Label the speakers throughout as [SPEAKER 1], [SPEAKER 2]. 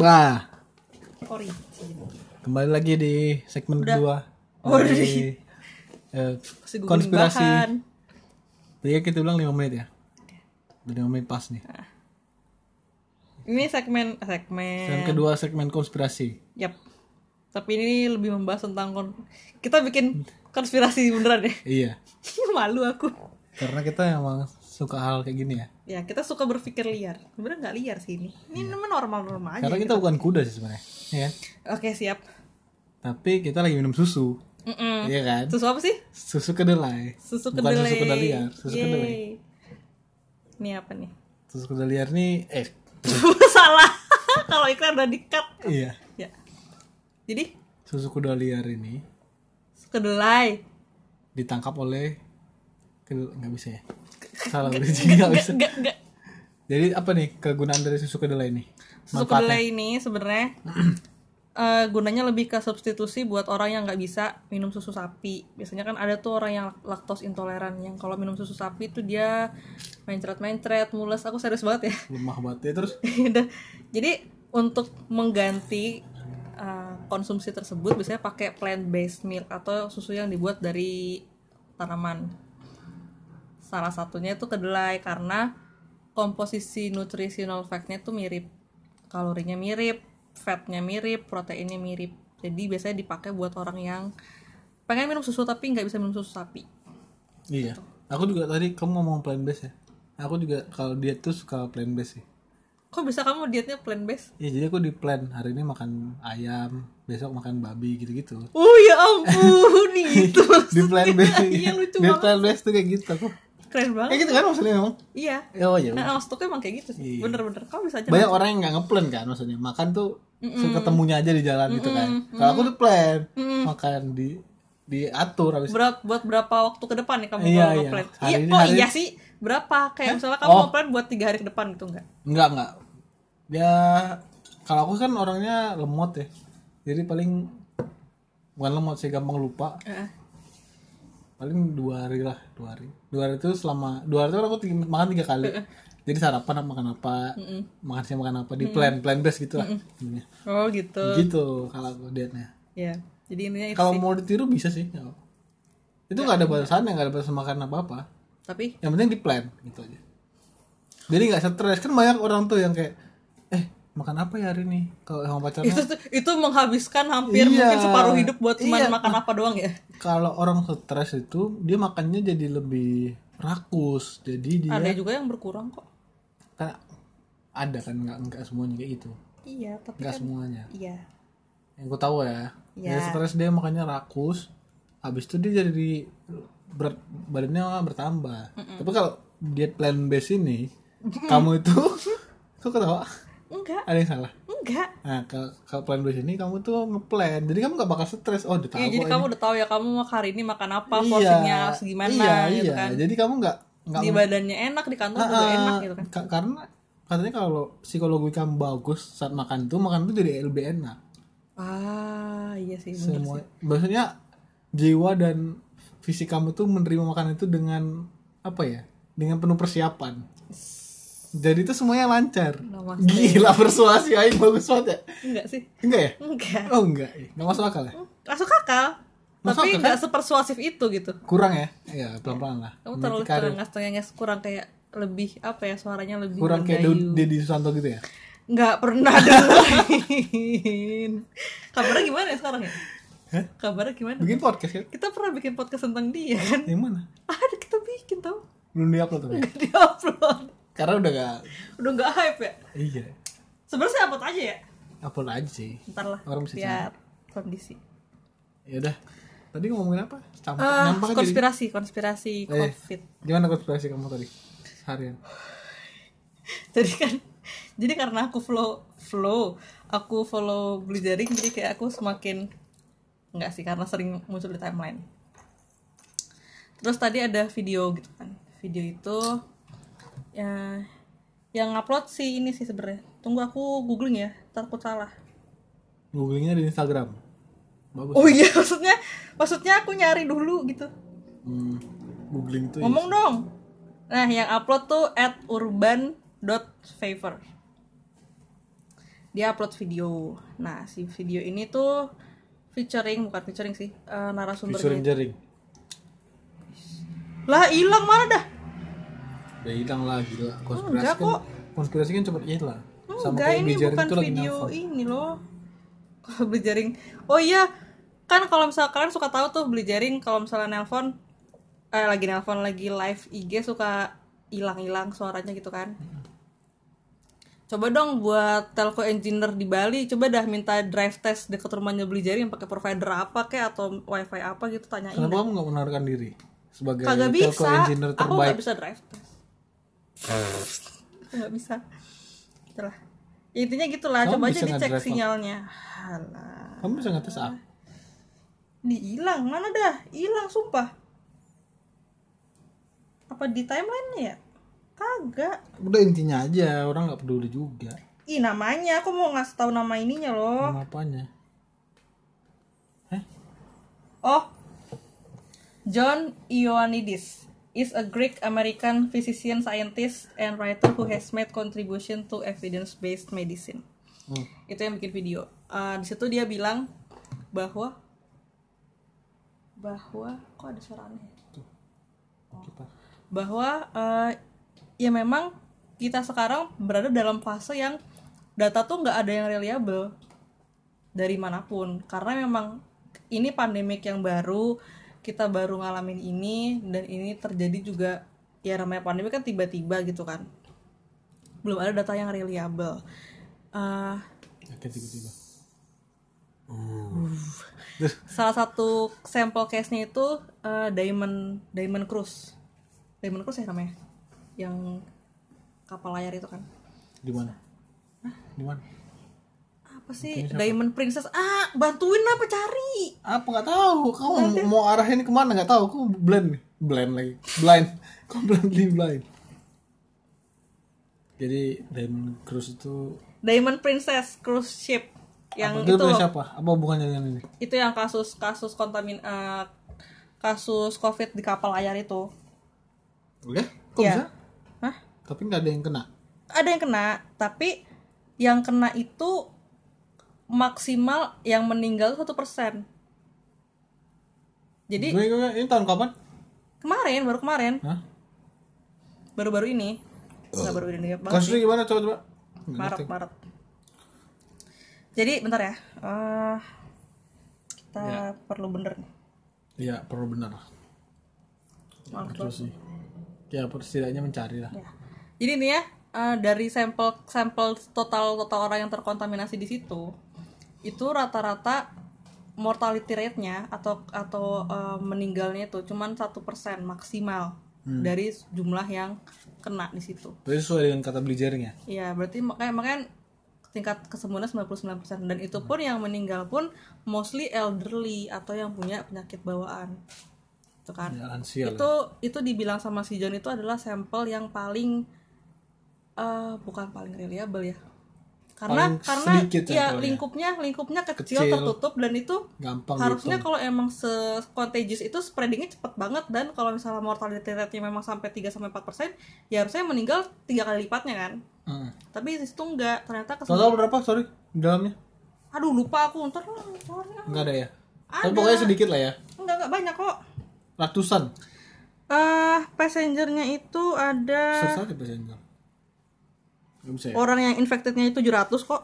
[SPEAKER 1] Nah,
[SPEAKER 2] Origin.
[SPEAKER 1] kembali lagi di segmen
[SPEAKER 2] Udah.
[SPEAKER 1] kedua.
[SPEAKER 2] Oh, udah.
[SPEAKER 1] Dari, eh,
[SPEAKER 2] Masih googling
[SPEAKER 1] konspirasi.
[SPEAKER 2] bahan.
[SPEAKER 1] Tadi kita bilang 5 menit ya. Udah 5 menit pas nih.
[SPEAKER 2] Eh. Ini segmen eh, segmen.
[SPEAKER 1] Dan kedua segmen konspirasi.
[SPEAKER 2] Yap. Tapi ini lebih membahas tentang kon kita bikin konspirasi beneran deh.
[SPEAKER 1] Iya.
[SPEAKER 2] Malu aku.
[SPEAKER 1] Karena kita emang suka hal kayak gini ya.
[SPEAKER 2] Ya, kita suka berpikir liar. Sebenarnya nggak liar sih ini. Ini memang normal-normal aja.
[SPEAKER 1] Iya. Karena kita bukan kuda sih sebenarnya. Iya. kan?
[SPEAKER 2] Oke, siap.
[SPEAKER 1] Tapi kita lagi minum susu.
[SPEAKER 2] Mm-mm.
[SPEAKER 1] Iya kan?
[SPEAKER 2] Hmm. Susu apa sih?
[SPEAKER 1] Susu kedelai.
[SPEAKER 2] Susu
[SPEAKER 1] Bukan
[SPEAKER 2] kedelai.
[SPEAKER 1] susu kedelai liar, susu
[SPEAKER 2] Yeay.
[SPEAKER 1] kedelai.
[SPEAKER 2] Ini apa nih?
[SPEAKER 1] Susu kedelai liar nih eh
[SPEAKER 2] Salah. Kalau iklan udah di-cut.
[SPEAKER 1] iya.
[SPEAKER 2] Ya. Jadi
[SPEAKER 1] Susu kedelai liar ini
[SPEAKER 2] kedelai
[SPEAKER 1] ditangkap oleh kedel- nggak bisa ya. Salah udah jadi nggak bisa.
[SPEAKER 2] Nggak- nggak.
[SPEAKER 1] Jadi apa nih kegunaan dari susu kedelai ini?
[SPEAKER 2] susu kedelai ini sebenarnya eh, gunanya lebih ke substitusi buat orang yang nggak bisa minum susu sapi biasanya kan ada tuh orang yang laktos intoleran yang kalau minum susu sapi tuh dia mencret mencret mules aku serius banget ya
[SPEAKER 1] Lemah banget ya terus
[SPEAKER 2] Udah. jadi untuk mengganti eh, konsumsi tersebut biasanya pakai plant based milk atau susu yang dibuat dari tanaman salah satunya itu kedelai karena komposisi nutritional factnya itu mirip kalorinya mirip fatnya mirip proteinnya mirip jadi biasanya dipakai buat orang yang pengen minum susu tapi nggak bisa minum susu sapi
[SPEAKER 1] Iya. Aku juga tadi kamu ngomong plant based ya. Aku juga kalau diet tuh suka plant based sih.
[SPEAKER 2] kok bisa kamu dietnya plant based
[SPEAKER 1] Iya jadi aku di plan hari ini makan ayam, besok makan babi gitu-gitu.
[SPEAKER 2] oh ya ampun gitu
[SPEAKER 1] Di plan based.
[SPEAKER 2] Iya, lucu
[SPEAKER 1] Di
[SPEAKER 2] banget.
[SPEAKER 1] plan based tuh kayak gitu aku.
[SPEAKER 2] keren banget
[SPEAKER 1] Kayak gitu kan maksudnya emang.
[SPEAKER 2] Iya.
[SPEAKER 1] Ya, Oh iya.
[SPEAKER 2] Nah, maksudku emang kayak gitu sih.
[SPEAKER 1] Iya.
[SPEAKER 2] Bener-bener. Kamu bisa aja.
[SPEAKER 1] Banyak orang yang nggak ngeplan kan maksudnya. Makan tuh ketemunya aja di jalan gitu kan. Kalau aku tuh plan makan di diatur habis
[SPEAKER 2] Berat buat berapa waktu ke depan nih kamu
[SPEAKER 1] Iya,
[SPEAKER 2] kalau
[SPEAKER 1] iya.
[SPEAKER 2] ngeplan?
[SPEAKER 1] Hari
[SPEAKER 2] Iya,
[SPEAKER 1] ini-
[SPEAKER 2] oh
[SPEAKER 1] hari-
[SPEAKER 2] iya sih. Berapa? Kayak misalnya kamu
[SPEAKER 1] Oh.
[SPEAKER 2] mau plan buat tiga hari ke depan gitu enggak?
[SPEAKER 1] Enggak, enggak. Ya kalau aku kan orangnya lemot ya. Jadi paling bukan lemot sih gampang lupa.
[SPEAKER 2] Heeh.
[SPEAKER 1] Paling dua hari lah, dua hari. Dua hari itu selama dua hari itu kan aku tiga- makan tiga kali. Jadi sarapan apa, makan apa, makan siang makan apa di plan plan base gitu lah. intinya.
[SPEAKER 2] Oh gitu.
[SPEAKER 1] Gitu kalau aku dietnya.
[SPEAKER 2] Ya. Jadi intinya itu
[SPEAKER 1] Kalau
[SPEAKER 2] sih.
[SPEAKER 1] mau ditiru bisa sih. nggak apa-apa. Itu nggak ada batasannya, nggak ada batasan makan apa apa
[SPEAKER 2] Tapi
[SPEAKER 1] yang penting di plan gitu aja jadi nggak stres kan banyak orang tuh yang kayak eh makan apa ya hari ini kalau sama pacarnya
[SPEAKER 2] itu itu menghabiskan hampir
[SPEAKER 1] Iya.
[SPEAKER 2] mungkin separuh hidup buat cuman
[SPEAKER 1] Iya.
[SPEAKER 2] makan apa doang ya.
[SPEAKER 1] kalau orang stres itu dia makannya jadi lebih rakus jadi dia
[SPEAKER 2] Ada juga yang berkurang kok.
[SPEAKER 1] kan ada kan nggak nggak semuanya kayak gitu
[SPEAKER 2] Iya, tapi
[SPEAKER 1] nggak
[SPEAKER 2] kan
[SPEAKER 1] semuanya
[SPEAKER 2] iya.
[SPEAKER 1] yang gue tahu ya
[SPEAKER 2] Iya.
[SPEAKER 1] dia stres dia makannya rakus habis itu dia jadi berat badannya bertambah tapi kalau diet plan based ini kamu itu kok ketawa
[SPEAKER 2] Enggak,
[SPEAKER 1] ada yang salah
[SPEAKER 2] enggak.
[SPEAKER 1] Nah, ke, ke plan B sini kamu tuh ngeplan. Jadi kamu gak bakal stres. Oh, udah tahu.
[SPEAKER 2] Iya, jadi
[SPEAKER 1] kok
[SPEAKER 2] kamu
[SPEAKER 1] ini.
[SPEAKER 2] udah tahu ya kamu mau hari ini makan apa,
[SPEAKER 1] Iya,
[SPEAKER 2] porsinya harus gimana
[SPEAKER 1] Iya,
[SPEAKER 2] gitu
[SPEAKER 1] iya.
[SPEAKER 2] kan.
[SPEAKER 1] Jadi kamu gak nggak
[SPEAKER 2] Di badannya enak, di kantor juga
[SPEAKER 1] Ah,
[SPEAKER 2] enak gitu kan.
[SPEAKER 1] ka- Karena katanya kalau psikologi kamu bagus saat makan tuh, makan tuh jadi lebih enak.
[SPEAKER 2] Ah, iya sih. bener.
[SPEAKER 1] Semua maksudnya jiwa dan fisik kamu tuh menerima makanan itu dengan apa ya? Dengan penuh persiapan. Jadi itu semuanya lancar.
[SPEAKER 2] Namaste.
[SPEAKER 1] Gila persuasi aing bagus banget ya.
[SPEAKER 2] Enggak sih.
[SPEAKER 1] Enggak ya?
[SPEAKER 2] Enggak.
[SPEAKER 1] Oh enggak, enggak masuk akal ya?
[SPEAKER 2] Masuk akal.
[SPEAKER 1] Masuk akal,
[SPEAKER 2] tapi
[SPEAKER 1] kan?
[SPEAKER 2] enggak sepersuasif itu gitu.
[SPEAKER 1] kurang ya ya pelan pelan lah
[SPEAKER 2] Kamu
[SPEAKER 1] Nanti
[SPEAKER 2] terlalu
[SPEAKER 1] karir.
[SPEAKER 2] kurang ngas kurang kayak lebih apa ya suaranya lebih
[SPEAKER 1] kurang kayak
[SPEAKER 2] mendayu.
[SPEAKER 1] Ded- Deddy Susanto gitu ya
[SPEAKER 2] Enggak pernah dengerin. Kabarnya gimana ya sekarang ya?
[SPEAKER 1] Hah?
[SPEAKER 2] Kabarnya gimana?
[SPEAKER 1] bikin podcast kan
[SPEAKER 2] Kita pernah bikin podcast tentang dia kan?
[SPEAKER 1] yang mana
[SPEAKER 2] Ada kita bikin tau
[SPEAKER 1] belum diupload tuh ya?
[SPEAKER 2] Enggak diupload.
[SPEAKER 1] karena udah gak
[SPEAKER 2] Udah enggak hype ya?
[SPEAKER 1] iya
[SPEAKER 2] Sebenarnya saya upload aja ya.
[SPEAKER 1] upload aja sih
[SPEAKER 2] Ntar lah.
[SPEAKER 1] Orang bisa
[SPEAKER 2] biar kondisi.
[SPEAKER 1] ya udah tadi ngomongin apa Campak,
[SPEAKER 2] Eh,
[SPEAKER 1] nampak kan jadi
[SPEAKER 2] konspirasi, konspirasi
[SPEAKER 1] Eh.
[SPEAKER 2] COVID.
[SPEAKER 1] gimana konspirasi kamu tadi harian
[SPEAKER 2] jadi kan jadi karena aku flow flow aku follow beli jaring jadi kayak aku semakin nggak sih karena sering muncul di timeline terus tadi ada video gitu kan video itu ya yang upload sih ini sih sebenarnya tunggu aku googling ya takut salah
[SPEAKER 1] googlingnya di Instagram bagus
[SPEAKER 2] oh iya maksudnya maksudnya aku nyari dulu gitu
[SPEAKER 1] Hmm, googling tuh ya.
[SPEAKER 2] ngomong dong nah yang upload tuh at urban dot favor dia upload video nah si video ini tuh featuring bukan featuring sih eh, narasumbernya
[SPEAKER 1] Featuring jaring.
[SPEAKER 2] lah hilang mana dah
[SPEAKER 1] Udah hilang lah gila. Konspirasi
[SPEAKER 2] Enggak
[SPEAKER 1] kan
[SPEAKER 2] kok.
[SPEAKER 1] konspirasi kan cepet hilang.
[SPEAKER 2] enggak ini
[SPEAKER 1] Bijarin
[SPEAKER 2] bukan
[SPEAKER 1] tuh lagi
[SPEAKER 2] video
[SPEAKER 1] nelfon.
[SPEAKER 2] ini loh kalau beli jaring oh iya kan kalau misalnya kalian suka tahu tuh beli jaring kalau misalnya nelpon eh lagi nelpon lagi live IG suka hilang-hilang suaranya gitu kan coba dong buat telco engineer di Bali coba dah minta drive test deket rumahnya beli jaring yang pakai provider apa kek atau wifi apa gitu tanyain
[SPEAKER 1] Kenapa kamu nggak menawarkan diri sebagai
[SPEAKER 2] kagak
[SPEAKER 1] telco
[SPEAKER 2] bisa
[SPEAKER 1] engineer
[SPEAKER 2] aku nggak
[SPEAKER 1] terbaik?
[SPEAKER 2] bisa drive test aku nggak bisa gitulah ya, intinya gitulah
[SPEAKER 1] Kamu
[SPEAKER 2] coba aja
[SPEAKER 1] bisa nggak
[SPEAKER 2] dicek
[SPEAKER 1] drive up?
[SPEAKER 2] sinyalnya halah
[SPEAKER 1] Kamu bisa ngetes apa?
[SPEAKER 2] ini hilang mana dah hilang sumpah apa di timeline ya kagak
[SPEAKER 1] Udah intinya aja orang nggak peduli juga.
[SPEAKER 2] ih namanya aku mau ngasih tahu nama ininya loh
[SPEAKER 1] Sama apanya?
[SPEAKER 2] oh John Ioannidis is a Greek American physician, scientist, and writer who has made contribution to evidence-based medicine.
[SPEAKER 1] Hmm.
[SPEAKER 2] itu yang bikin video Eh, di situ dia bilang bahwa bahwa kok ada suara aneh ya?
[SPEAKER 1] Kita.
[SPEAKER 2] bahwa eh, ya memang kita sekarang berada dalam fase yang data tuh nggak ada yang reliable dari manapun karena memang ini pandemik yang baru kita baru ngalamin ini dan ini terjadi juga ya namanya pandemi kan tiba-tiba gitu kan belum ada data yang reliable Eh,
[SPEAKER 1] Oke Ya, tiba-tiba.
[SPEAKER 2] salah satu sampel case-nya itu eh, Diamond Diamond Cruise. Diamond Cruise ya namanya. Yang kapal layar itu kan.
[SPEAKER 1] Di mana? Di mana?
[SPEAKER 2] Apa sih? Diamond Princess. Ah, bantuin apa cari?
[SPEAKER 1] Apa nggak tahu? Kamu mau arahin kemana nggak tahu? Kamu blend nih, blend lagi, blind. Kamu blind blind. Jadi Diamond Cruise itu
[SPEAKER 2] Diamond Princess cruise ship yang
[SPEAKER 1] apa? Dia
[SPEAKER 2] itu
[SPEAKER 1] punya
[SPEAKER 2] loh.
[SPEAKER 1] siapa? Apa hubungannya dengan ini?
[SPEAKER 2] itu yang kasus kasus kontamin eh, kasus Covid di kapal layar itu.
[SPEAKER 1] Udah? Kok
[SPEAKER 2] Ya.
[SPEAKER 1] bisa?
[SPEAKER 2] Hah?
[SPEAKER 1] Tapi nggak ada yang kena.
[SPEAKER 2] ada yang kena tapi yang kena itu maksimal yang meninggal satu persen jadi
[SPEAKER 1] Gue- gue- ini tahun kapan?
[SPEAKER 2] kemarin baru kemarin
[SPEAKER 1] Hah?
[SPEAKER 2] baru-baru ini nggak baru ini banget
[SPEAKER 1] Kasusnya gimana coba coba?
[SPEAKER 2] sih. maret maret jadi bentar ya Eh, kita perlu bener nih
[SPEAKER 1] Iya perlu benar. Perlu sih. Ya per- setidaknya mencari lah.
[SPEAKER 2] Ya. Jadi ini ya eh, dari sampel sampel total total orang yang terkontaminasi di situ itu rata-rata mortality rate-nya atau atau eh, meninggalnya itu cuman satu persen maksimal dari jumlah yang kena di situ.
[SPEAKER 1] Berarti sesuai dengan kata beli jaring ya?
[SPEAKER 2] Iya, berarti makanya makanya tingkat kesembuhannya 99% dan itu pun yang meninggal pun mostly elderly atau yang punya penyakit bawaan. Itu kan
[SPEAKER 1] Ya lansia lah.
[SPEAKER 2] itu itu dibilang sama si John itu adalah sampel yang paling eh bukan paling reliable ya karena
[SPEAKER 1] Paling
[SPEAKER 2] karena
[SPEAKER 1] sedikit
[SPEAKER 2] ya
[SPEAKER 1] sampelnya.
[SPEAKER 2] lingkupnya lingkupnya kecil,
[SPEAKER 1] Kecil.
[SPEAKER 2] tertutup dan itu
[SPEAKER 1] Gampang gitu.
[SPEAKER 2] harusnya
[SPEAKER 1] dihitung.
[SPEAKER 2] kalau emang se contagious itu spreadingnya cepet banget dan kalau misalnya mortality rate-nya memang sampai 3 sampai 4 persen ya harusnya meninggal tiga kali lipatnya kan
[SPEAKER 1] Mm.
[SPEAKER 2] tapi di situ enggak ternyata kesembuhan
[SPEAKER 1] Total berapa sorry di dalamnya?
[SPEAKER 2] aduh lupa aku ntar lah, ntar lah.
[SPEAKER 1] Enggak ada ya? Tapi pokoknya sedikit lah ya.
[SPEAKER 2] enggak enggak banyak kok
[SPEAKER 1] Ratusan.
[SPEAKER 2] eh passengernya itu ada
[SPEAKER 1] Satu aja passenger. Gak bisa ya?
[SPEAKER 2] Orang yang infectednya itu 700 kok.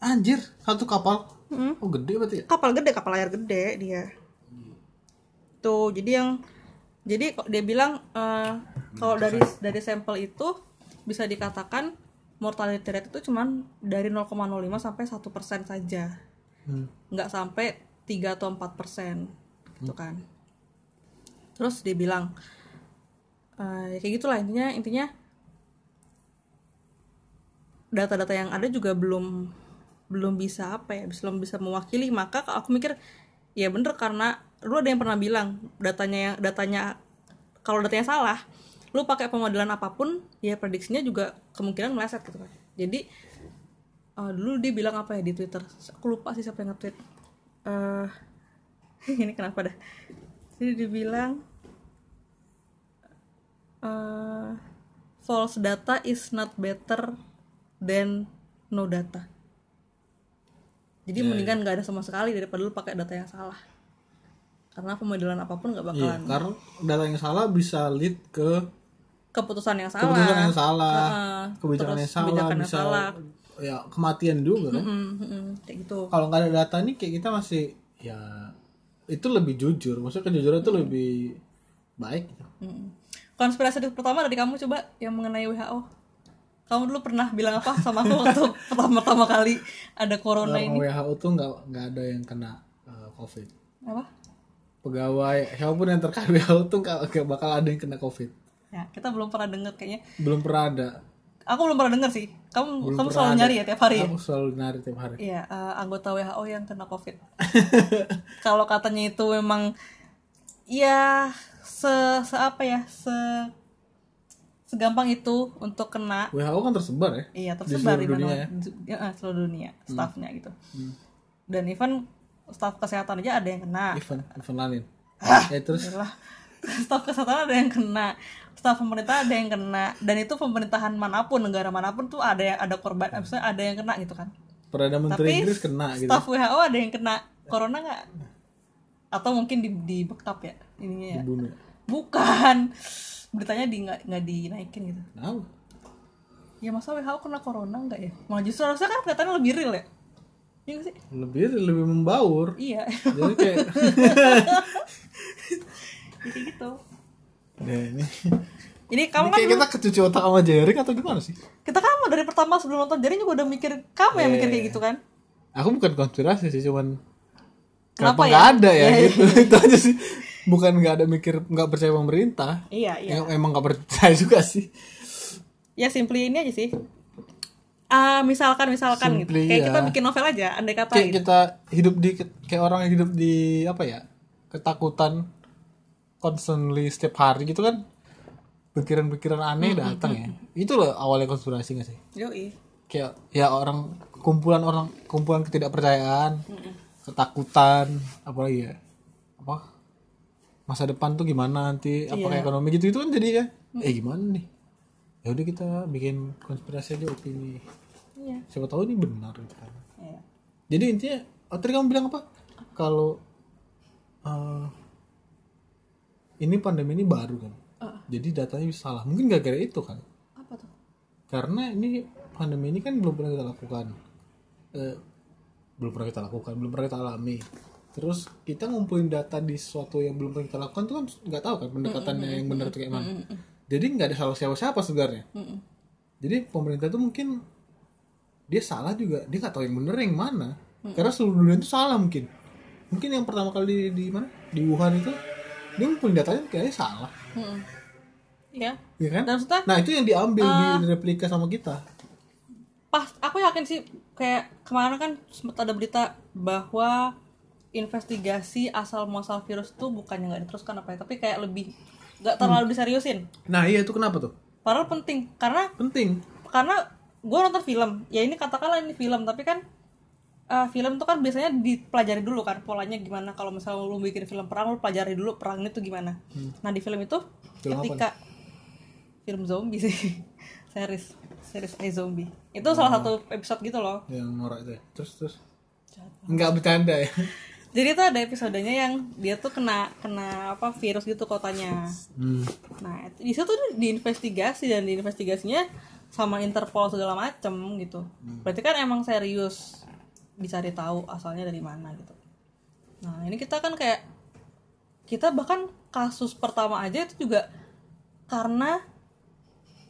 [SPEAKER 1] Anjir, satu kapal.
[SPEAKER 2] Hmm.
[SPEAKER 1] Oh gede berarti ya?
[SPEAKER 2] Kapal gede, kapal layar gede dia. Tuh, jadi yang jadi kok dia bilang eh, kalau dari dari sampel itu bisa dikatakan mortality rate itu cuman dari 0,05 sampai 1% saja.
[SPEAKER 1] Hmm.
[SPEAKER 2] Nggak sampai 3 atau 4% gitu kan. Terus dia bilang eh, ya kayak gitulah intinya intinya data-data yang ada juga belum belum bisa apa ya belum bisa mewakili maka kalau aku mikir ya bener karena lu ada yang pernah bilang datanya yang datanya kalau datanya salah lu pakai pemodelan apapun ya prediksinya juga kemungkinan meleset gitu kan jadi eh, dulu dia bilang apa ya di twitter aku lupa sih siapa yang nge-tweet Eh, ini kenapa dah jadi dibilang eh, false data is not better than no data Jadi
[SPEAKER 1] Iya,
[SPEAKER 2] mendingan nggak ada sama sekali daripada lu pakai data yang salah. Karena pemodelan apapun nggak
[SPEAKER 1] Iya,
[SPEAKER 2] bakalan
[SPEAKER 1] karena data yang salah bisa lead ke
[SPEAKER 2] keputusan yang salah.
[SPEAKER 1] keputusan yang salah,
[SPEAKER 2] Heeh.
[SPEAKER 1] kebijakan yang
[SPEAKER 2] Terus
[SPEAKER 1] salah,
[SPEAKER 2] kebijakan yang
[SPEAKER 1] bisa
[SPEAKER 2] salah.
[SPEAKER 1] ya kematian juga kan.
[SPEAKER 2] Mm, mm, mm, kayak gitu.
[SPEAKER 1] Kalau nggak ada data nih kayak kita masih ya itu lebih jujur, maksudnya kejujuran itu lebih baik.
[SPEAKER 2] Mm. Konspirasi pertama dari kamu coba yang mengenai WHO. Kamu dulu pernah bilang apa sama aku waktu pertama-tama kali ada corona
[SPEAKER 1] Orang
[SPEAKER 2] ini?
[SPEAKER 1] WHO tuh nggak nggak ada yang kena eh, COVID.
[SPEAKER 2] Apa?
[SPEAKER 1] Pegawai siapapun yang terkait WHO tuh nggak nggak bakal ada yang kena COVID.
[SPEAKER 2] Ya, kita belum pernah denger kayaknya.
[SPEAKER 1] Belum pernah ada.
[SPEAKER 2] Aku belum pernah denger sih. Kamu
[SPEAKER 1] Belum
[SPEAKER 2] kamu
[SPEAKER 1] pernah
[SPEAKER 2] selalu
[SPEAKER 1] ada.
[SPEAKER 2] nyari ya tiap hari. ya?
[SPEAKER 1] Aku selalu nyari tiap hari.
[SPEAKER 2] Iya, eh, anggota WHO yang kena COVID. Kalau katanya itu memang ya se, se apa ya? Se segampang itu untuk kena.
[SPEAKER 1] WHO kan tersebar ya.
[SPEAKER 2] Iya,
[SPEAKER 1] Di seluruh
[SPEAKER 2] tersebar di
[SPEAKER 1] dunia Hmm.
[SPEAKER 2] mana ya, eh, seluruh dunia, stafnya gitu. Dan even staf kesehatan aja ada yang kena.
[SPEAKER 1] Event event lain. ya terus
[SPEAKER 2] Yalah. Staf kesehatan ada yang kena. Staf pemerintah ada yang kena. Dan itu pemerintahan manapun, negara manapun tuh ada yang ada korban, maksudnya ada yang kena gitu kan.
[SPEAKER 1] perdana menteri
[SPEAKER 2] Tapi
[SPEAKER 1] Inggris kena Hmm. gitu.
[SPEAKER 2] Staff WHO ada yang kena corona nggak? Atau mungkin di dibekap ya ininya ya?
[SPEAKER 1] Dibunuh.
[SPEAKER 2] Bukan. Beritanya di nggak nggak dinaikin gitu.
[SPEAKER 1] Kenapa?
[SPEAKER 2] Ya masa WHO kena corona nggak ya? Malah justru harusnya kan kelihatannya lebih real ya. Iya nggak sih?
[SPEAKER 1] lebih lebih membaur
[SPEAKER 2] Iya.
[SPEAKER 1] jadi kayak
[SPEAKER 2] Jadi gitu.
[SPEAKER 1] nah, ini,
[SPEAKER 2] Jadi kamu
[SPEAKER 1] ini
[SPEAKER 2] kan
[SPEAKER 1] kayak gitu. kita kecuci otak sama jaring atau gimana sih
[SPEAKER 2] kita kamu dari pertama sebelum nonton jadi juga udah mikir kamu yang mikir
[SPEAKER 1] Iya.
[SPEAKER 2] kayak gitu kan?
[SPEAKER 1] aku bukan konspirasi sih cuman
[SPEAKER 2] Kenapa
[SPEAKER 1] kenapa
[SPEAKER 2] ya?
[SPEAKER 1] nggak ada ya gitu itu aja sih bukan nggak ada mikir nggak percaya pemerintah
[SPEAKER 2] Iya iya.
[SPEAKER 1] Em- emang nggak percaya juga sih
[SPEAKER 2] Ya simply ini aja sih. Ah misalkan misalkan gitu.
[SPEAKER 1] Simply,
[SPEAKER 2] Kayak
[SPEAKER 1] ya.
[SPEAKER 2] kita bikin novel aja, andai kata
[SPEAKER 1] kayak
[SPEAKER 2] gitu.
[SPEAKER 1] kita hidup di kayak orang yang hidup di apa ya ketakutan constantly setiap hari gitu kan pikiran-pikiran aneh datang ya itu loh awalnya konspirasi nggak sih
[SPEAKER 2] Yoi.
[SPEAKER 1] kayak ya orang kumpulan orang kumpulan ketidakpercayaan ketakutan apalagi ya apa masa depan tuh gimana nanti apakah ekonomi gitu itu kan jadi ya eh gimana nih ya udah kita bikin konspirasi aja opini
[SPEAKER 2] Iya.
[SPEAKER 1] siapa tahu ini benar gitu kan
[SPEAKER 2] Iya.
[SPEAKER 1] jadi intinya oh, tadi kamu bilang apa kalau eh, ini pandemi ini baru kan jadi datanya bisa salah mungkin gak gara itu kan
[SPEAKER 2] Apa tuh?
[SPEAKER 1] karena ini pandemi ini kan belum pernah kita lakukan Eh, belum pernah kita lakukan belum pernah kita alami terus kita ngumpulin data di sesuatu yang belum pernah kita lakukan tuh kan nggak tahu kan pendekatannya yang benar tuh kayak mana jadi nggak ada salah siapa siapa sebenarnya
[SPEAKER 2] Mm-mm.
[SPEAKER 1] jadi pemerintah tuh mungkin dia salah juga dia nggak tahu yang bener yang mana karena seluruh dunia itu salah mungkin mungkin yang pertama kali di, di mana di Wuhan itu dia ngumpulin datanya kayaknya salah
[SPEAKER 2] Mm-mm. Iya.
[SPEAKER 1] ya kan
[SPEAKER 2] Dan maksudnya
[SPEAKER 1] nah itu yang diambil di replika sama kita
[SPEAKER 2] pas aku yakin sih kayak kemarin kan sempat ada berita bahwa investigasi asal muasal virus tuh bukannya nggak diteruskan apa ya, tapi kayak lebih nggak
[SPEAKER 1] Hmm.
[SPEAKER 2] terlalu diseriusin.
[SPEAKER 1] Nah iya itu kenapa tuh?
[SPEAKER 2] Padahal penting karena
[SPEAKER 1] Penting.
[SPEAKER 2] karena gue nonton film ya ini katakanlah ini film tapi kan eh, film tuh kan biasanya dipelajari dulu kan polanya gimana kalau misalnya lu bikin film perang lu pelajari dulu perangnya tuh gimana nah di film itu
[SPEAKER 1] Hmm. Film apa
[SPEAKER 2] ketika film zombie sih series series A zombie itu
[SPEAKER 1] Hmm.
[SPEAKER 2] salah satu episode gitu loh
[SPEAKER 1] Yang norak itu ya. Terus terus. Enggak bercanda ya.
[SPEAKER 2] jadi tuh ada episodenya yang dia tuh kena kena apa virus gitu kotanya
[SPEAKER 1] Hmm.
[SPEAKER 2] Nah, itu- di situ tuh diinvestigasi dan diinvestigasinya sama Interpol segala macem gitu. Berarti kan emang serius dicari tahu asalnya dari mana gitu. Nah, ini kita kan kayak kita bahkan kasus pertama aja itu juga karena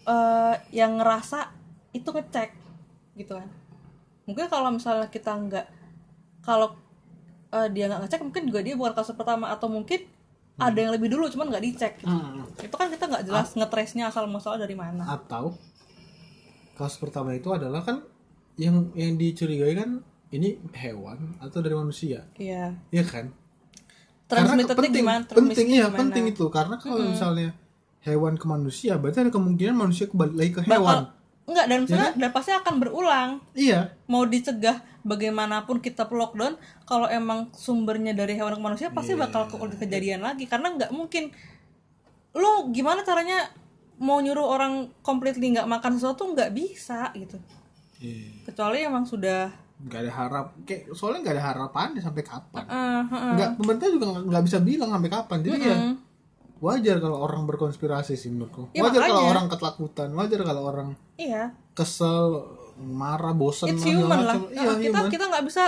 [SPEAKER 2] eh, yang ngerasa itu ngecek gitu kan. Mungkin kalau misalnya kita nggak kalau eh, dia nggak ngecek mungkin juga dia bukan kasus pertama atau mungkin ada yang lebih dulu cuman nggak dicek gitu
[SPEAKER 1] Hmm.
[SPEAKER 2] itu kan kita
[SPEAKER 1] Ah.
[SPEAKER 2] nggak jelas ngetrace-nya asal muasal dari mana
[SPEAKER 1] Atau kasus pertama itu adalah kan yang yang dicurigai kan ini hewan atau dari manusia,
[SPEAKER 2] iya
[SPEAKER 1] Iya kan? Karena
[SPEAKER 2] transmitternya
[SPEAKER 1] penting,
[SPEAKER 2] gimana
[SPEAKER 1] penting
[SPEAKER 2] transmisinya
[SPEAKER 1] iya
[SPEAKER 2] gimana
[SPEAKER 1] penting itu karena kalau misalnya hewan ke manusia berarti ada kemungkinan manusia kembali lagi ke hewan. kan?
[SPEAKER 2] Bakal- enggak dan maksudnya dan pasti akan berulang
[SPEAKER 1] Iya.
[SPEAKER 2] mau dicegah bagaimanapun kita lockdown kalau emang sumbernya dari hewan ke manusia pasti
[SPEAKER 1] Iya.
[SPEAKER 2] bakal ke- kejadian lagi karena nggak mungkin lo gimana caranya mau nyuruh orang completely nggak makan sesuatu nggak bisa gitu
[SPEAKER 1] Iya.
[SPEAKER 2] kecuali emang sudah
[SPEAKER 1] nggak ada harap kayak soalnya nggak ada harapan sampai kapan
[SPEAKER 2] Heeh, eh, heeh.
[SPEAKER 1] nggak pemerintah juga nggak- nggak bisa bilang sampai kapan jadi ya wajar kalau orang berkonspirasi sih menurutku
[SPEAKER 2] Ya,
[SPEAKER 1] wajar kalau
[SPEAKER 2] makanya.
[SPEAKER 1] orang ketakutan wajar kalau orang
[SPEAKER 2] iya
[SPEAKER 1] kesel marah bosen
[SPEAKER 2] it's
[SPEAKER 1] segala
[SPEAKER 2] human lah
[SPEAKER 1] macam. iya,
[SPEAKER 2] Nah, kita
[SPEAKER 1] human.
[SPEAKER 2] kita nggak bisa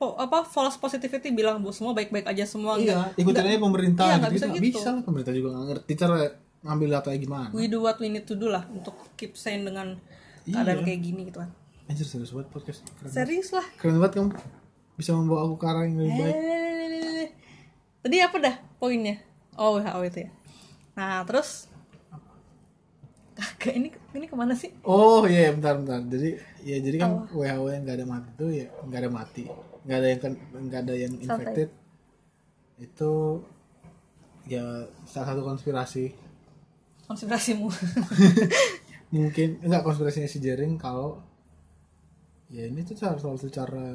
[SPEAKER 2] po- apa false positivity bilang bu semua baik baik aja semua
[SPEAKER 1] iya
[SPEAKER 2] nggak-
[SPEAKER 1] ikutin aja pemerintah
[SPEAKER 2] Iya,
[SPEAKER 1] gitu.
[SPEAKER 2] nggak bisa
[SPEAKER 1] Nggak
[SPEAKER 2] gitu.
[SPEAKER 1] bisa lah pemerintah juga nggak ngerti cara ngambil data gimana
[SPEAKER 2] we do what we need to do lah untuk keep sane dengan
[SPEAKER 1] Iya.
[SPEAKER 2] keadaan kayak gini gitu kan
[SPEAKER 1] anjir serius banget podcast keren,
[SPEAKER 2] serius lah
[SPEAKER 1] keren banget kamu bisa membawa aku ke arah yang lebih baik
[SPEAKER 2] Eh, tadi apa dah poinnya oh WHO itu ya nah terus kagak ini ini kemana sih
[SPEAKER 1] Oh iya bentar bentar. Jadi ya jadi kan
[SPEAKER 2] Oh.
[SPEAKER 1] WHO yang nggak ada mati itu ya nggak ada mati, nggak ada yang ken- nggak ada yang infected itu ya salah satu konspirasi
[SPEAKER 2] konspirasimu
[SPEAKER 1] mungkin enggak konspirasinya si Jering kalau ya ini tuh cara salah satu cara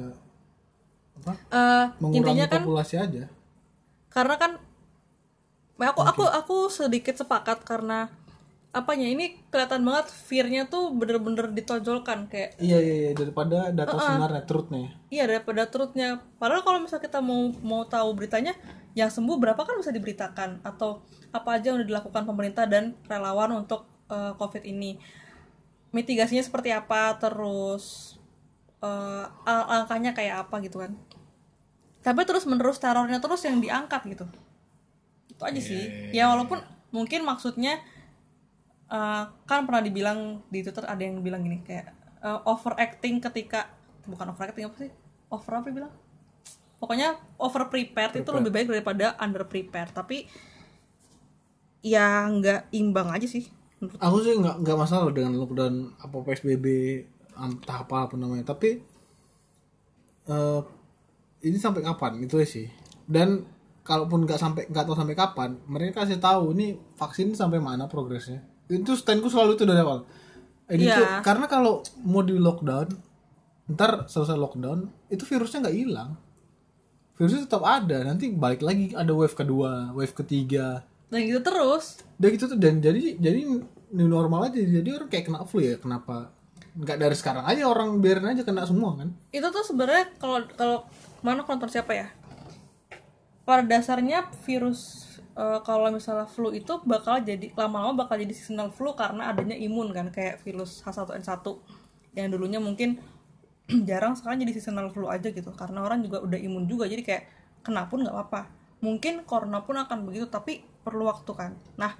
[SPEAKER 1] apa
[SPEAKER 2] Eh,
[SPEAKER 1] mengurangi
[SPEAKER 2] intinya kan
[SPEAKER 1] populasi aja
[SPEAKER 2] karena kan nah, aku aku aku sedikit sepakat karena apanya ini kelihatan banget fearnya tuh bener-bener ditonjolkan kayak
[SPEAKER 1] iya iya iya daripada data sebenarnya truthnya
[SPEAKER 2] iya daripada truthnya padahal kalau misal kita mau mau tahu beritanya yang sembuh berapa kan bisa diberitakan atau apa aja yang udah dilakukan pemerintah dan relawan untuk eh, covid ini mitigasinya seperti apa terus eh, al- angkanya kayak apa gitu kan tapi terus menerus terornya terus yang diangkat gitu itu aja sih ya walaupun mungkin maksudnya eh, kan pernah dibilang di twitter ada yang bilang gini kayak eh, overacting ketika bukan overacting apa sih over apa bilang pokoknya over prepared itu lebih baik daripada under prepared tapi ya nggak imbang aja sih menurut
[SPEAKER 1] aku sih nggak nggak masalah dengan lockdown apa psbb am- tahap apa namanya tapi eh, ini sampai kapan itu aja sih dan kalaupun nggak sampai nggak tahu sampai kapan mereka kasih tahu ini vaksin sampai mana progresnya itu standku selalu itu dari awal ini
[SPEAKER 2] Iya.
[SPEAKER 1] tuh karena kalau mau di lockdown ntar selesai lockdown itu virusnya nggak hilang virusnya tetap ada nanti balik lagi ada wave kedua wave ketiga
[SPEAKER 2] dan gitu terus
[SPEAKER 1] udah gitu tuh dan jadi jadi new normal aja jadi orang kayak kena flu ya kenapa nggak dari sekarang aja orang biarin aja kena semua kan
[SPEAKER 2] itu tuh sebenarnya kalau kalau mana aku nonton siapa ya pada dasarnya virus eh, kalau misalnya flu itu bakal jadi lama-lama bakal jadi seasonal flu karena adanya imun kan kayak virus H1N1 yang dulunya mungkin jarang sekarang jadi seasonal flu aja gitu karena orang juga udah imun juga jadi kayak kena pun nggak apa-apa mungkin corona pun akan begitu tapi perlu waktu kan nah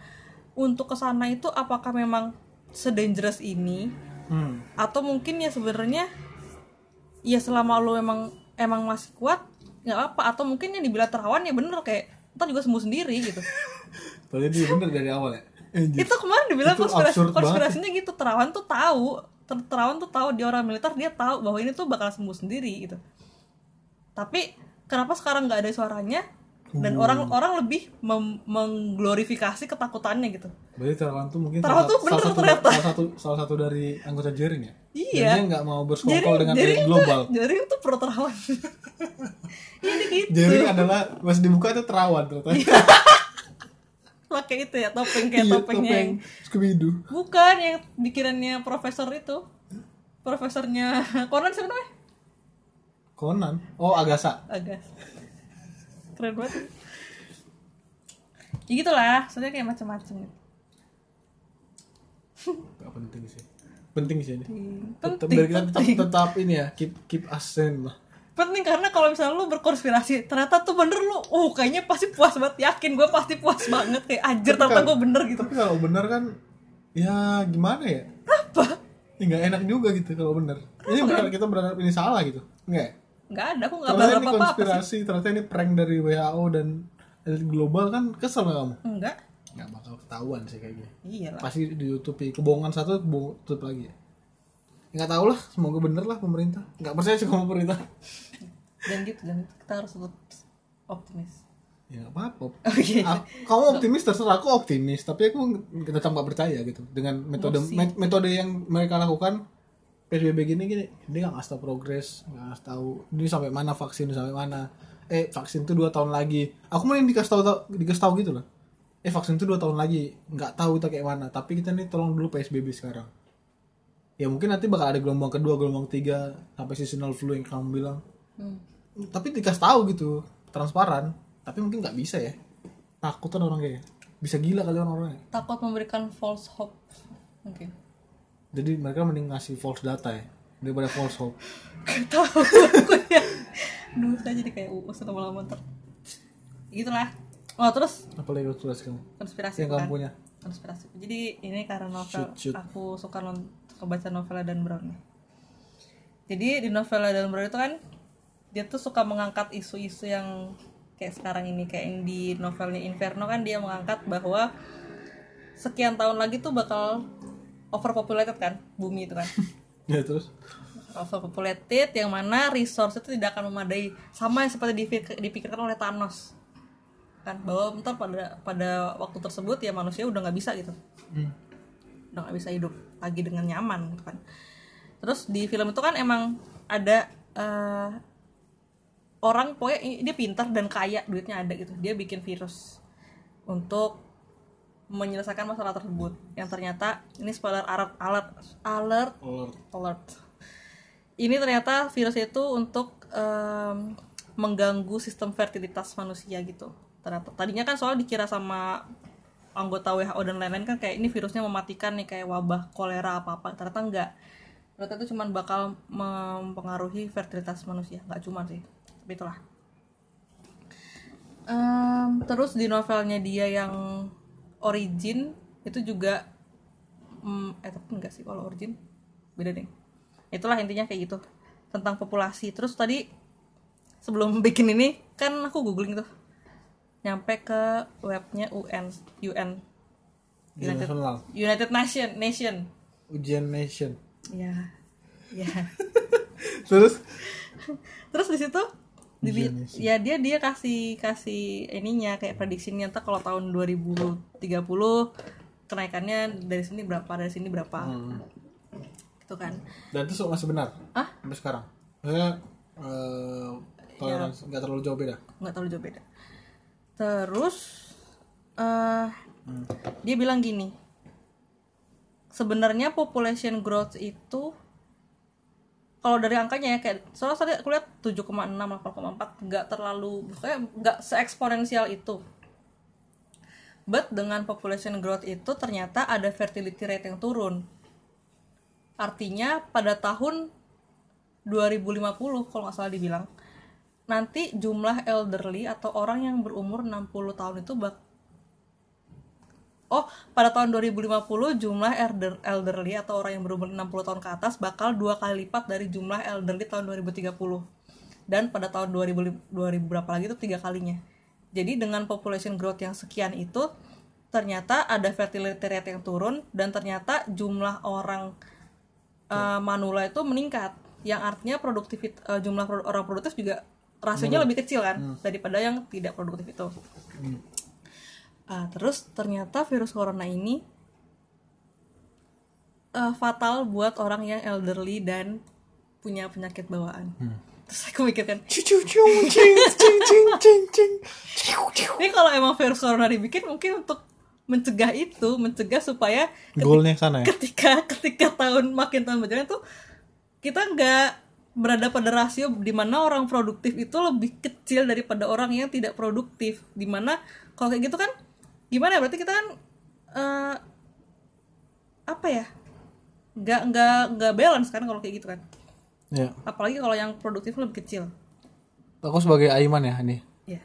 [SPEAKER 2] untuk kesana itu apakah memang sedangerous ini
[SPEAKER 1] hmm.
[SPEAKER 2] atau mungkin ya sebenarnya ya selama lu emang emang masih kuat nggak apa atau mungkin yang dibilang terawan ya bener kayak ntar juga sembuh sendiri gitu
[SPEAKER 1] berarti dia bener dari awal ya Anjir.
[SPEAKER 2] itu kemarin dibilang
[SPEAKER 1] Itu
[SPEAKER 2] konspirasi
[SPEAKER 1] absurd banget.
[SPEAKER 2] konspirasinya gitu terawan tuh tahu Ter- terawan tuh tahu dia orang militer dia tahu bahwa ini tuh bakal sembuh sendiri gitu tapi kenapa sekarang nggak ada suaranya
[SPEAKER 1] Hmm.
[SPEAKER 2] dan orang-orang lebih mem- mengglorifikasi ketakutannya gitu
[SPEAKER 1] berarti Terawan tuh mungkin salah,
[SPEAKER 2] Terawan tuh bener
[SPEAKER 1] salah satu
[SPEAKER 2] ternyata.
[SPEAKER 1] salah satu salah satu dari anggota jaring ya
[SPEAKER 2] Iya.
[SPEAKER 1] dan dia nggak mau bersekongkol
[SPEAKER 2] jadi
[SPEAKER 1] dengan
[SPEAKER 2] jadi
[SPEAKER 1] elit
[SPEAKER 2] itu gitu.
[SPEAKER 1] global
[SPEAKER 2] jadi itu pro terawan Iya, dia gitu
[SPEAKER 1] jaring adalah pas dibuka itu Terawan tuh
[SPEAKER 2] pakai itu ya topeng Iya, kayak topengnya yang
[SPEAKER 1] Iya, Scooby-Doo
[SPEAKER 2] bukan yang bikinannya profesor itu profesornya Conan siapa namanya
[SPEAKER 1] Conan oh Agasa
[SPEAKER 2] Agas keren banget ya gitulah soalnya kayak macam-macam gitu
[SPEAKER 1] nggak penting sih penting sih ini tetap
[SPEAKER 2] penting
[SPEAKER 1] biar kita tetap, tetap ini ya keep keep ascend lah
[SPEAKER 2] penting karena kalau misalnya lu berkonspirasi ternyata tuh bener lu oh kayaknya pasti puas banget yakin gue pasti puas banget kayak anjir ternyata gue bener gitu
[SPEAKER 1] tapi kalau bener kan ya gimana ya
[SPEAKER 2] apa
[SPEAKER 1] ya nggak enak juga gitu kalau bener ini benar kita berharap ini salah gitu nggak ya?
[SPEAKER 2] nggak ada aku nggak
[SPEAKER 1] ternyata
[SPEAKER 2] berharap
[SPEAKER 1] ini
[SPEAKER 2] apa apa
[SPEAKER 1] konspirasi ternyata ini prank dari WHO dan elit global kan kesel nggak kamu
[SPEAKER 2] enggak
[SPEAKER 1] nggak bakal ketahuan sih kayaknya
[SPEAKER 2] iyalah
[SPEAKER 1] pasti ditutupi kebohongan satu kebo- tutup lagi ya nggak tahu lah semoga bener lah pemerintah nggak percaya sih sama pemerintah
[SPEAKER 2] dan gitu dan gitu. kita harus tetap optimis
[SPEAKER 1] ya nggak apa-apa
[SPEAKER 2] Oke.
[SPEAKER 1] Ah, kamu optimis terserah aku optimis tapi aku nggak- tetap nggak percaya gitu dengan metode met- metode yang mereka lakukan psbb gini gini dia nggak ngasih tau progres nggak ngasih tahu ini sampai mana vaksin sampai mana eh vaksin tuh dua tahun lagi aku mending dikasih tahu tau- dikasih tahu gitu loh eh vaksin tuh dua tahun lagi nggak tahu itu kayak mana tapi kita nih tolong dulu psbb sekarang ya mungkin nanti bakal ada gelombang kedua gelombang ketiga sampai seasonal flu yang kamu bilang
[SPEAKER 2] Hmm.
[SPEAKER 1] tapi dikasih tahu gitu transparan tapi mungkin nggak bisa ya takut kan orang kayaknya bisa gila kali orang orangnya
[SPEAKER 2] Takut memberikan false hope. Mungkin.
[SPEAKER 1] jadi mereka mending ngasih false data ya daripada false hope
[SPEAKER 2] Gak tahu aku ya. Duh, saya jadi kayak uus lama-lama ntar. Gitulah. Oh, terus
[SPEAKER 1] apa lagi tulis kamu
[SPEAKER 2] konspirasi
[SPEAKER 1] yang kamu
[SPEAKER 2] bukan?
[SPEAKER 1] punya
[SPEAKER 2] konspirasi. Jadi ini karena novel
[SPEAKER 1] Ya Shoot, shoot.
[SPEAKER 2] aku suka non- suka baca novelnya Dan Brown. Jadi di novelnya Dan Brown itu kan dia tuh suka mengangkat isu-isu yang kayak sekarang ini kayak yang di novelnya Inferno kan dia mengangkat bahwa sekian tahun lagi tuh bakal overpopulated kan bumi itu kan
[SPEAKER 1] ya terus
[SPEAKER 2] overpopulated yang mana resource itu tidak akan memadai sama yang seperti dipik- dipikirkan oleh Thanos kan bahwa ntar pada pada waktu tersebut ya manusia udah nggak bisa gitu
[SPEAKER 1] Hmm.
[SPEAKER 2] udah nggak bisa hidup lagi dengan nyaman gitu kan terus di film itu kan emang ada eh, orang pokoknya i- dia pintar dan kaya duitnya ada gitu dia bikin virus untuk menyelesaikan masalah tersebut yang ternyata ini spoiler alert alert alert
[SPEAKER 1] Alert.
[SPEAKER 2] alert ini ternyata virus itu untuk em, mengganggu sistem fertilitas manusia gitu ternyata tadinya kan soal dikira sama anggota WHO dan lain-lain kan kayak ini virusnya mematikan nih kayak wabah kolera apa apa ternyata enggak ternyata itu cuman bakal mempengaruhi fertilitas manusia nggak cuman sih tapi itulah Em, terus di novelnya dia yang origin itu juga mm, eh tapi enggak sih kalau origin beda deh itulah intinya kayak gitu tentang populasi terus tadi sebelum bikin ini kan aku googling tuh nyampe ke webnya UN UN
[SPEAKER 1] Ujian
[SPEAKER 2] United,
[SPEAKER 1] nasional
[SPEAKER 2] United Nation Nation
[SPEAKER 1] ujian nation
[SPEAKER 2] ya ya
[SPEAKER 1] terus
[SPEAKER 2] terus di situ dibi-
[SPEAKER 1] Genius.
[SPEAKER 2] ya dia dia kasih kasih ininya kayak prediksinya ntar kalau tahun 2030 kenaikannya dari sini berapa dari sini berapa
[SPEAKER 1] Hmm.
[SPEAKER 2] gitu kan
[SPEAKER 1] dan itu masih benar
[SPEAKER 2] Ah?
[SPEAKER 1] sampai sekarang maksudnya eh toleransi nggak terlalu jauh beda
[SPEAKER 2] nggak terlalu jauh beda terus eh dia bilang gini sebenarnya population growth itu kalau dari angkanya ya kayak soalnya tadi aku lihat 7,6 8,4 nggak terlalu kayak nggak seeksponensial itu but dengan population growth itu ternyata ada fertility rate yang turun artinya pada tahun 2050 kalau nggak salah dibilang nanti jumlah elderly atau orang yang berumur 60 tahun itu bak Oh, pada tahun 2050 jumlah elder- elderly atau orang yang berumur 60 tahun ke atas bakal dua kali lipat dari jumlah elderly tahun 2030. Dan pada tahun 2000, 2000 berapa lagi itu tiga kalinya. Jadi dengan population growth yang sekian itu ternyata ada fertility rate yang turun dan ternyata jumlah orang eh, manula itu meningkat yang artinya produktivit eh, jumlah produ- orang produktif juga rasionya lebih kecil kan daripada yang tidak produktif itu. Ah, terus ternyata virus corona ini eh, fatal buat orang yang elderly dan punya penyakit bawaan. Terus aku mikir kan,
[SPEAKER 1] Ciu, ciu, cing, cing, cing, cing, cing. Ciu, ciu.
[SPEAKER 2] ini kalau emang virus corona dibikin mungkin untuk mencegah itu, mencegah supaya
[SPEAKER 1] goalnya sana ya
[SPEAKER 2] ketika ketika tahun makin tahun berjalan tuh kita nggak berada pada rasio di mana orang produktif itu lebih kecil daripada orang yang tidak produktif di mana kalau kayak gitu kan gimana ya? berarti kita kan eh, apa ya nggak nggak nggak balance kan kalau kayak gitu kan
[SPEAKER 1] ya
[SPEAKER 2] apalagi kalau yang produktif lebih kecil
[SPEAKER 1] aku sebagai Aiman ya nih
[SPEAKER 2] ya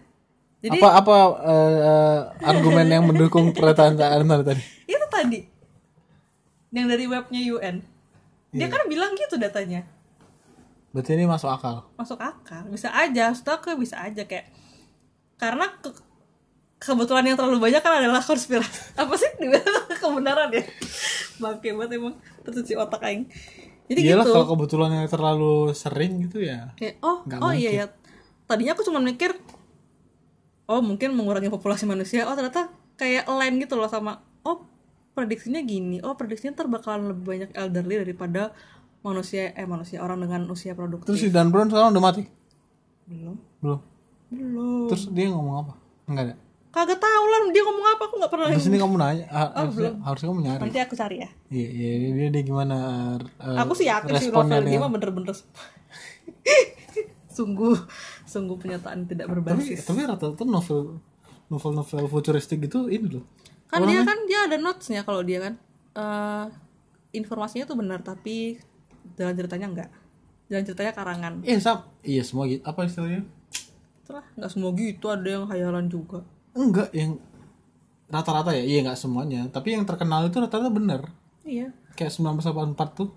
[SPEAKER 2] jadi
[SPEAKER 1] apa apa eh, eh, argumen yang mendukung pertahanan tadi
[SPEAKER 2] itu tadi yang dari webnya UN dia kan bilang gitu datanya
[SPEAKER 1] berarti ini masuk akal
[SPEAKER 2] masuk akal bisa aja setelah aku bisa aja kayak karena ke- kebetulan yang terlalu banyak kan adalah konspirasi apa sih dibilang kebenaran ya bangke banget emang tercuci otak aing jadi
[SPEAKER 1] iyalah
[SPEAKER 2] gitu
[SPEAKER 1] kalau kebetulannya terlalu sering gitu ya
[SPEAKER 2] kayak oh
[SPEAKER 1] Nggak
[SPEAKER 2] oh iya ya tadinya aku cuma mikir oh mungkin mengurangi populasi manusia oh ternyata kayak lain gitu loh sama oh prediksinya gini oh prediksinya ntar bakalan lebih banyak elderly daripada manusia eh manusia orang dengan usia produktif
[SPEAKER 1] terus si Dan Brown sekarang udah mati
[SPEAKER 2] belum
[SPEAKER 1] belum
[SPEAKER 2] belum
[SPEAKER 1] terus dia ngomong apa enggak ada
[SPEAKER 2] kagak tahu lah dia ngomong apa aku nggak pernah
[SPEAKER 1] Terus ini kamu nanya,
[SPEAKER 2] Oh,
[SPEAKER 1] ah, harusnya, harusnya kamu nyari.
[SPEAKER 2] nanti aku cari ya
[SPEAKER 1] Iya, iya, dia, dia, dia gimana? eh,
[SPEAKER 2] aku sih yakin sih
[SPEAKER 1] responnya
[SPEAKER 2] novel dia
[SPEAKER 1] dia.
[SPEAKER 2] mah bener-bener sungguh sungguh pernyataan tidak
[SPEAKER 1] Tapi,
[SPEAKER 2] berbasis
[SPEAKER 1] tapi rata-rata novel novel-novel futuristik gitu ini loh.
[SPEAKER 2] kan dia kan dia ada notesnya kalau dia kan Eh, informasinya tuh benar tapi jalan ceritanya enggak jalan ceritanya karangan
[SPEAKER 1] Eh, sam, iya semua gitu. Apa istilahnya?
[SPEAKER 2] itulah nggak semua gitu ada yang hayalan juga
[SPEAKER 1] Enggak, yang rata-rata ya, iya nggak semuanya. Tapi yang terkenal itu rata-rata bener.
[SPEAKER 2] iya
[SPEAKER 1] Kayak 1984 tuh.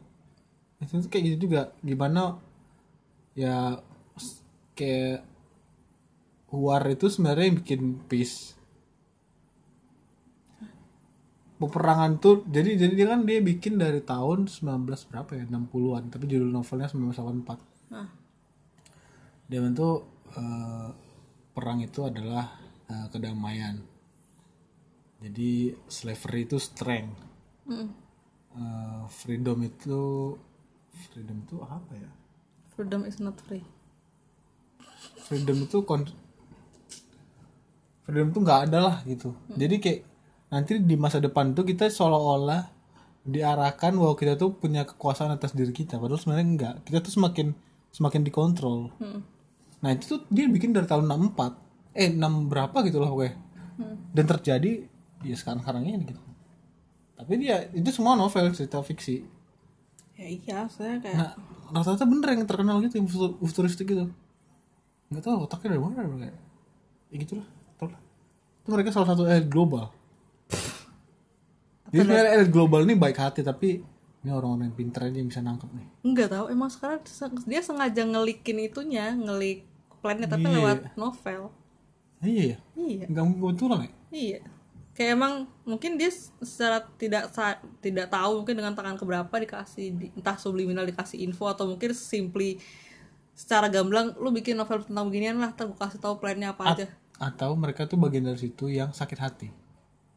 [SPEAKER 1] Itu tuh kayak gitu juga. Gimana ya s- kayak war itu sebenarnya yang bikin peace. Peperangan tuh jadi jadi dia kan dia bikin dari tahun 19 berapa ya? 60-an, tapi judul novelnya 1984.
[SPEAKER 2] nah,
[SPEAKER 1] Dia itu eh, perang itu adalah eh, kedamaian. Jadi slavery itu strength,
[SPEAKER 2] mm,
[SPEAKER 1] Eh, freedom itu freedom itu apa ya?
[SPEAKER 2] freedom is not free
[SPEAKER 1] Freedom itu kon freedom itu nggak ada lah gitu. Jadi kayak nanti di masa depan tuh kita seolah-olah diarahkan bahwa kita tuh punya kekuasaan atas diri kita, padahal sebenarnya enggak. Kita tuh semakin semakin dikontrol.
[SPEAKER 2] Mm,
[SPEAKER 1] Nah itu tuh dia bikin dari tahun 64 Eh 6 berapa gitu lah pokoknya Dan terjadi ya sekarang-sekarang ini gitu Tapi dia itu semua novel cerita fiksi
[SPEAKER 2] ya iya saya kayak
[SPEAKER 1] Nah rata-rata bener yang terkenal gitu yang futu- futuristik gitu Gak tau otaknya dari mana mereka Ya gitu lah tau lah Itu mereka salah satu elit global Jadi sebenarnya elit global ini baik hati tapi Ini orang-orang yang pintar aja yang bisa nangkep nih
[SPEAKER 2] nggak tahu emang sekarang se- dia sengaja ngelikin itunya ngelik plannya tapi
[SPEAKER 1] Iya.
[SPEAKER 2] lewat novel
[SPEAKER 1] Iya ya
[SPEAKER 2] iya
[SPEAKER 1] Gak mungkin kebetulan ya
[SPEAKER 2] iya kayak emang mungkin dia s- secara tidak sa- tidak tahu mungkin dengan tangan keberapa dikasih di- entah subliminal dikasih info atau mungkin simply secara gamblang lu bikin novel tentang beginian lah ntar gue kasih tahu plannya apa aja
[SPEAKER 1] atau mereka tuh bagian dari situ yang sakit hati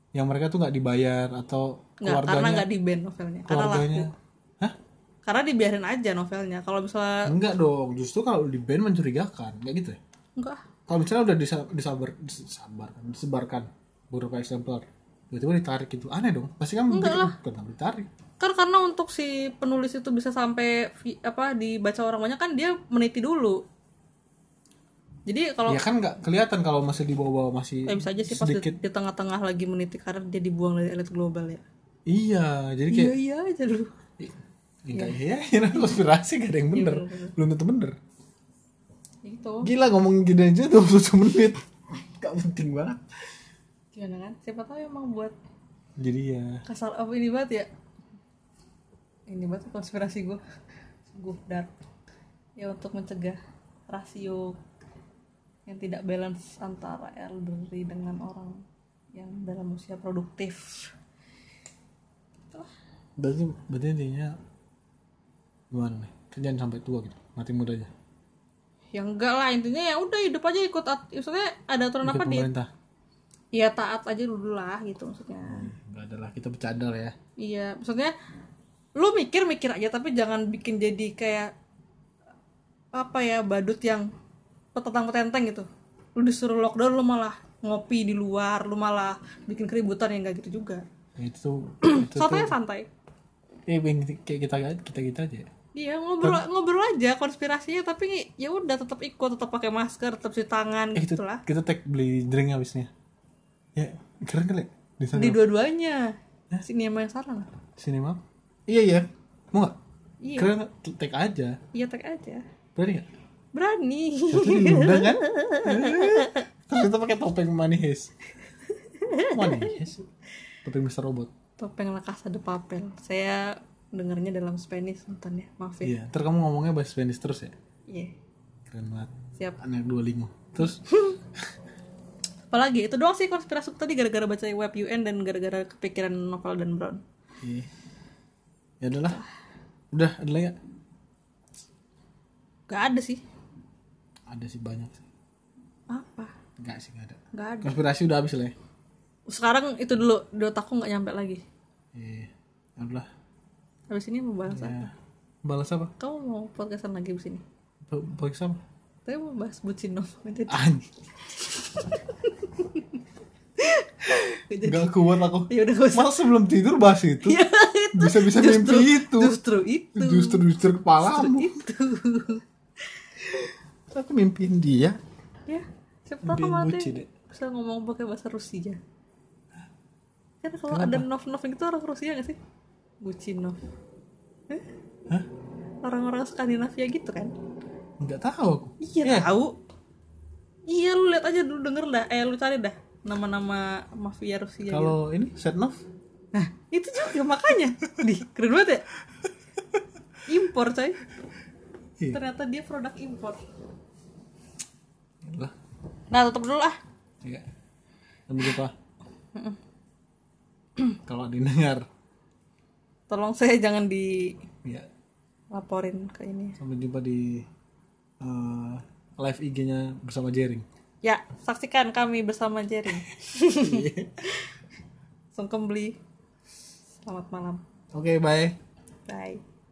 [SPEAKER 1] yang mereka tuh nggak dibayar atau
[SPEAKER 2] nggak karena
[SPEAKER 1] keluarganya
[SPEAKER 2] nggak di ban novelnya karena
[SPEAKER 1] keluarganya
[SPEAKER 2] laku
[SPEAKER 1] hah
[SPEAKER 2] karena dibiarin aja novelnya kalau misalnya
[SPEAKER 1] enggak dong justru kalau di band mencurigakan nggak gitu ya
[SPEAKER 2] enggak ah,
[SPEAKER 1] kalau misalnya udah disa- disabar disabarkan disebarkan beberapa eksemplar tiba-tiba ditarik gitu aneh dong pasti kan enggak lah bukan ditarik
[SPEAKER 2] kan karena untuk si penulis itu bisa sampai vi- apa dibaca orang banyak kan dia meniti dulu jadi kalau
[SPEAKER 1] ya kan nggak kelihatan kalau masih di bawah-bawah masih
[SPEAKER 2] eh, bisa aja sih pas di,
[SPEAKER 1] sedikit
[SPEAKER 2] di tengah-tengah lagi meniti karir dia dibuang dari elit global ya
[SPEAKER 1] iya jadi kayak
[SPEAKER 2] iya iya aja dulu
[SPEAKER 1] enggak ya ini konspirasi gak ada yang Iya, bener belum tentu bener
[SPEAKER 2] itu
[SPEAKER 1] gila ngomongin gini aja 21 menit gak penting banget
[SPEAKER 2] gimana kan siapa tahu emang buat
[SPEAKER 1] jadi ya
[SPEAKER 2] kasar apa ini banget ya ini banget konspirasi gue sungguh dark ya untuk mencegah rasio yang tidak balance antara elderly dengan orang yang dalam usia produktif
[SPEAKER 1] berarti berarti intinya gimana nih Kita jangan sampai tua gitu mati muda aja
[SPEAKER 2] ya enggak lah intinya ya udah hidup aja ikut at- maksudnya ada aturan
[SPEAKER 1] Ikut
[SPEAKER 2] apa di
[SPEAKER 1] pemerintah
[SPEAKER 2] ya taat aja dulu lah gitu maksudnya
[SPEAKER 1] nggak ada lah kita bercanda lah ya
[SPEAKER 2] Iya, maksudnya lu mikir-mikir aja tapi jangan bikin jadi kayak apa ya badut yang petentang-petenteng gitu. Lu disuruh lockdown lu malah ngopi di luar, lu malah bikin keributan yang enggak gitu juga.
[SPEAKER 1] Ya, itu tuh itu
[SPEAKER 2] Santai santai.
[SPEAKER 1] eh yang kayak kita kita kita aja ya.
[SPEAKER 2] Iya, ngobrol ngobrol aja konspirasinya tapi ya udah tetap ikut, tetap pakai masker, tetap cuci tangan
[SPEAKER 1] eh, itu
[SPEAKER 2] gitu lah.
[SPEAKER 1] kita tag beli drink habisnya ya keren kali ya? di sana
[SPEAKER 2] Di dua-duanya. Sini sama yang sarang.
[SPEAKER 1] sini mam iya iya mau nggak
[SPEAKER 2] Iya,
[SPEAKER 1] keren nggak? tag aja
[SPEAKER 2] iya tag aja.
[SPEAKER 1] berani nggak
[SPEAKER 2] Berani.
[SPEAKER 1] Tapi diundang kan terus kita pakai topeng manihis manihis topeng Mister Robot
[SPEAKER 2] Topeng La Casa de Papel. Saya dengarnya dalam Spanish nonton ya. Maaf ya. Iya.
[SPEAKER 1] Iya, ntar kamu ngomongnya bahasa Spanish terus ya. Keren banget.
[SPEAKER 2] Siap.
[SPEAKER 1] Anak Duolingo. Terus
[SPEAKER 2] Apalagi itu doang sih konspirasi tadi gara-gara baca web UN dan gara-gara kepikiran novel dan Brown.
[SPEAKER 1] iya. ya adalah. Udah, ada lagi nggak?
[SPEAKER 2] Gak ada sih.
[SPEAKER 1] Ada sih banyak sih.
[SPEAKER 2] Apa?
[SPEAKER 1] Enggak sih, enggak ada.
[SPEAKER 2] Gak ada.
[SPEAKER 1] Konspirasi udah habis lah ya.
[SPEAKER 2] Sekarang itu dulu di otakku nggak nyampe lagi.
[SPEAKER 1] Iya. Ya Udah.
[SPEAKER 2] Habis ini mau bahas apa?
[SPEAKER 1] Iya. Balas apa?
[SPEAKER 2] Kamu mau podcastan lagi di sini?
[SPEAKER 1] Balas apa?
[SPEAKER 2] Tadi Kita mau bahas bucin dong. Nggak jadi.
[SPEAKER 1] An-
[SPEAKER 2] Nggak jadi.
[SPEAKER 1] nggak kuat aku
[SPEAKER 2] Ya udah gak usah.
[SPEAKER 1] masa sebelum tidur bahas itu
[SPEAKER 2] Ya, itu.
[SPEAKER 1] bisa bisa
[SPEAKER 2] Justru-
[SPEAKER 1] mimpi itu
[SPEAKER 2] Justru itu.
[SPEAKER 1] justru justru
[SPEAKER 2] Justru
[SPEAKER 1] kepalamu
[SPEAKER 2] itu.
[SPEAKER 1] aku mimpiin dia
[SPEAKER 2] ya, cepetan
[SPEAKER 1] Mimpiin
[SPEAKER 2] sama
[SPEAKER 1] bucin, ya.
[SPEAKER 2] nanti bisa ngomong pakai bahasa Rusia. Kan kalau ada nov-nov itu orang Rusia gak sih? Bucinov. Eh?
[SPEAKER 1] Hah?
[SPEAKER 2] Orang-orang Skandinavia gitu kan?
[SPEAKER 1] nggak tahu aku
[SPEAKER 2] Iya tahu. Iya lu lihat aja dulu denger dah. Eh lu cari dah nama-nama mafia Rusia. gitu.
[SPEAKER 1] kalau ini Setnov
[SPEAKER 2] Nah itu juga makanya. Di keren banget ya. Impor coy.
[SPEAKER 1] Iya.
[SPEAKER 2] Ternyata dia produk impor.
[SPEAKER 1] lah
[SPEAKER 2] Nah tutup dulu lah.
[SPEAKER 1] ya sampai jumpa kalau didengar
[SPEAKER 2] Tolong saya jangan dilaporin
[SPEAKER 1] ya
[SPEAKER 2] ke ini.
[SPEAKER 1] sampai jumpa di eh, live IG-nya bersama Jering
[SPEAKER 2] Ya saksikan kami bersama Jerry. Sungkem beli. Selamat malam.
[SPEAKER 1] oke bye
[SPEAKER 2] Bye.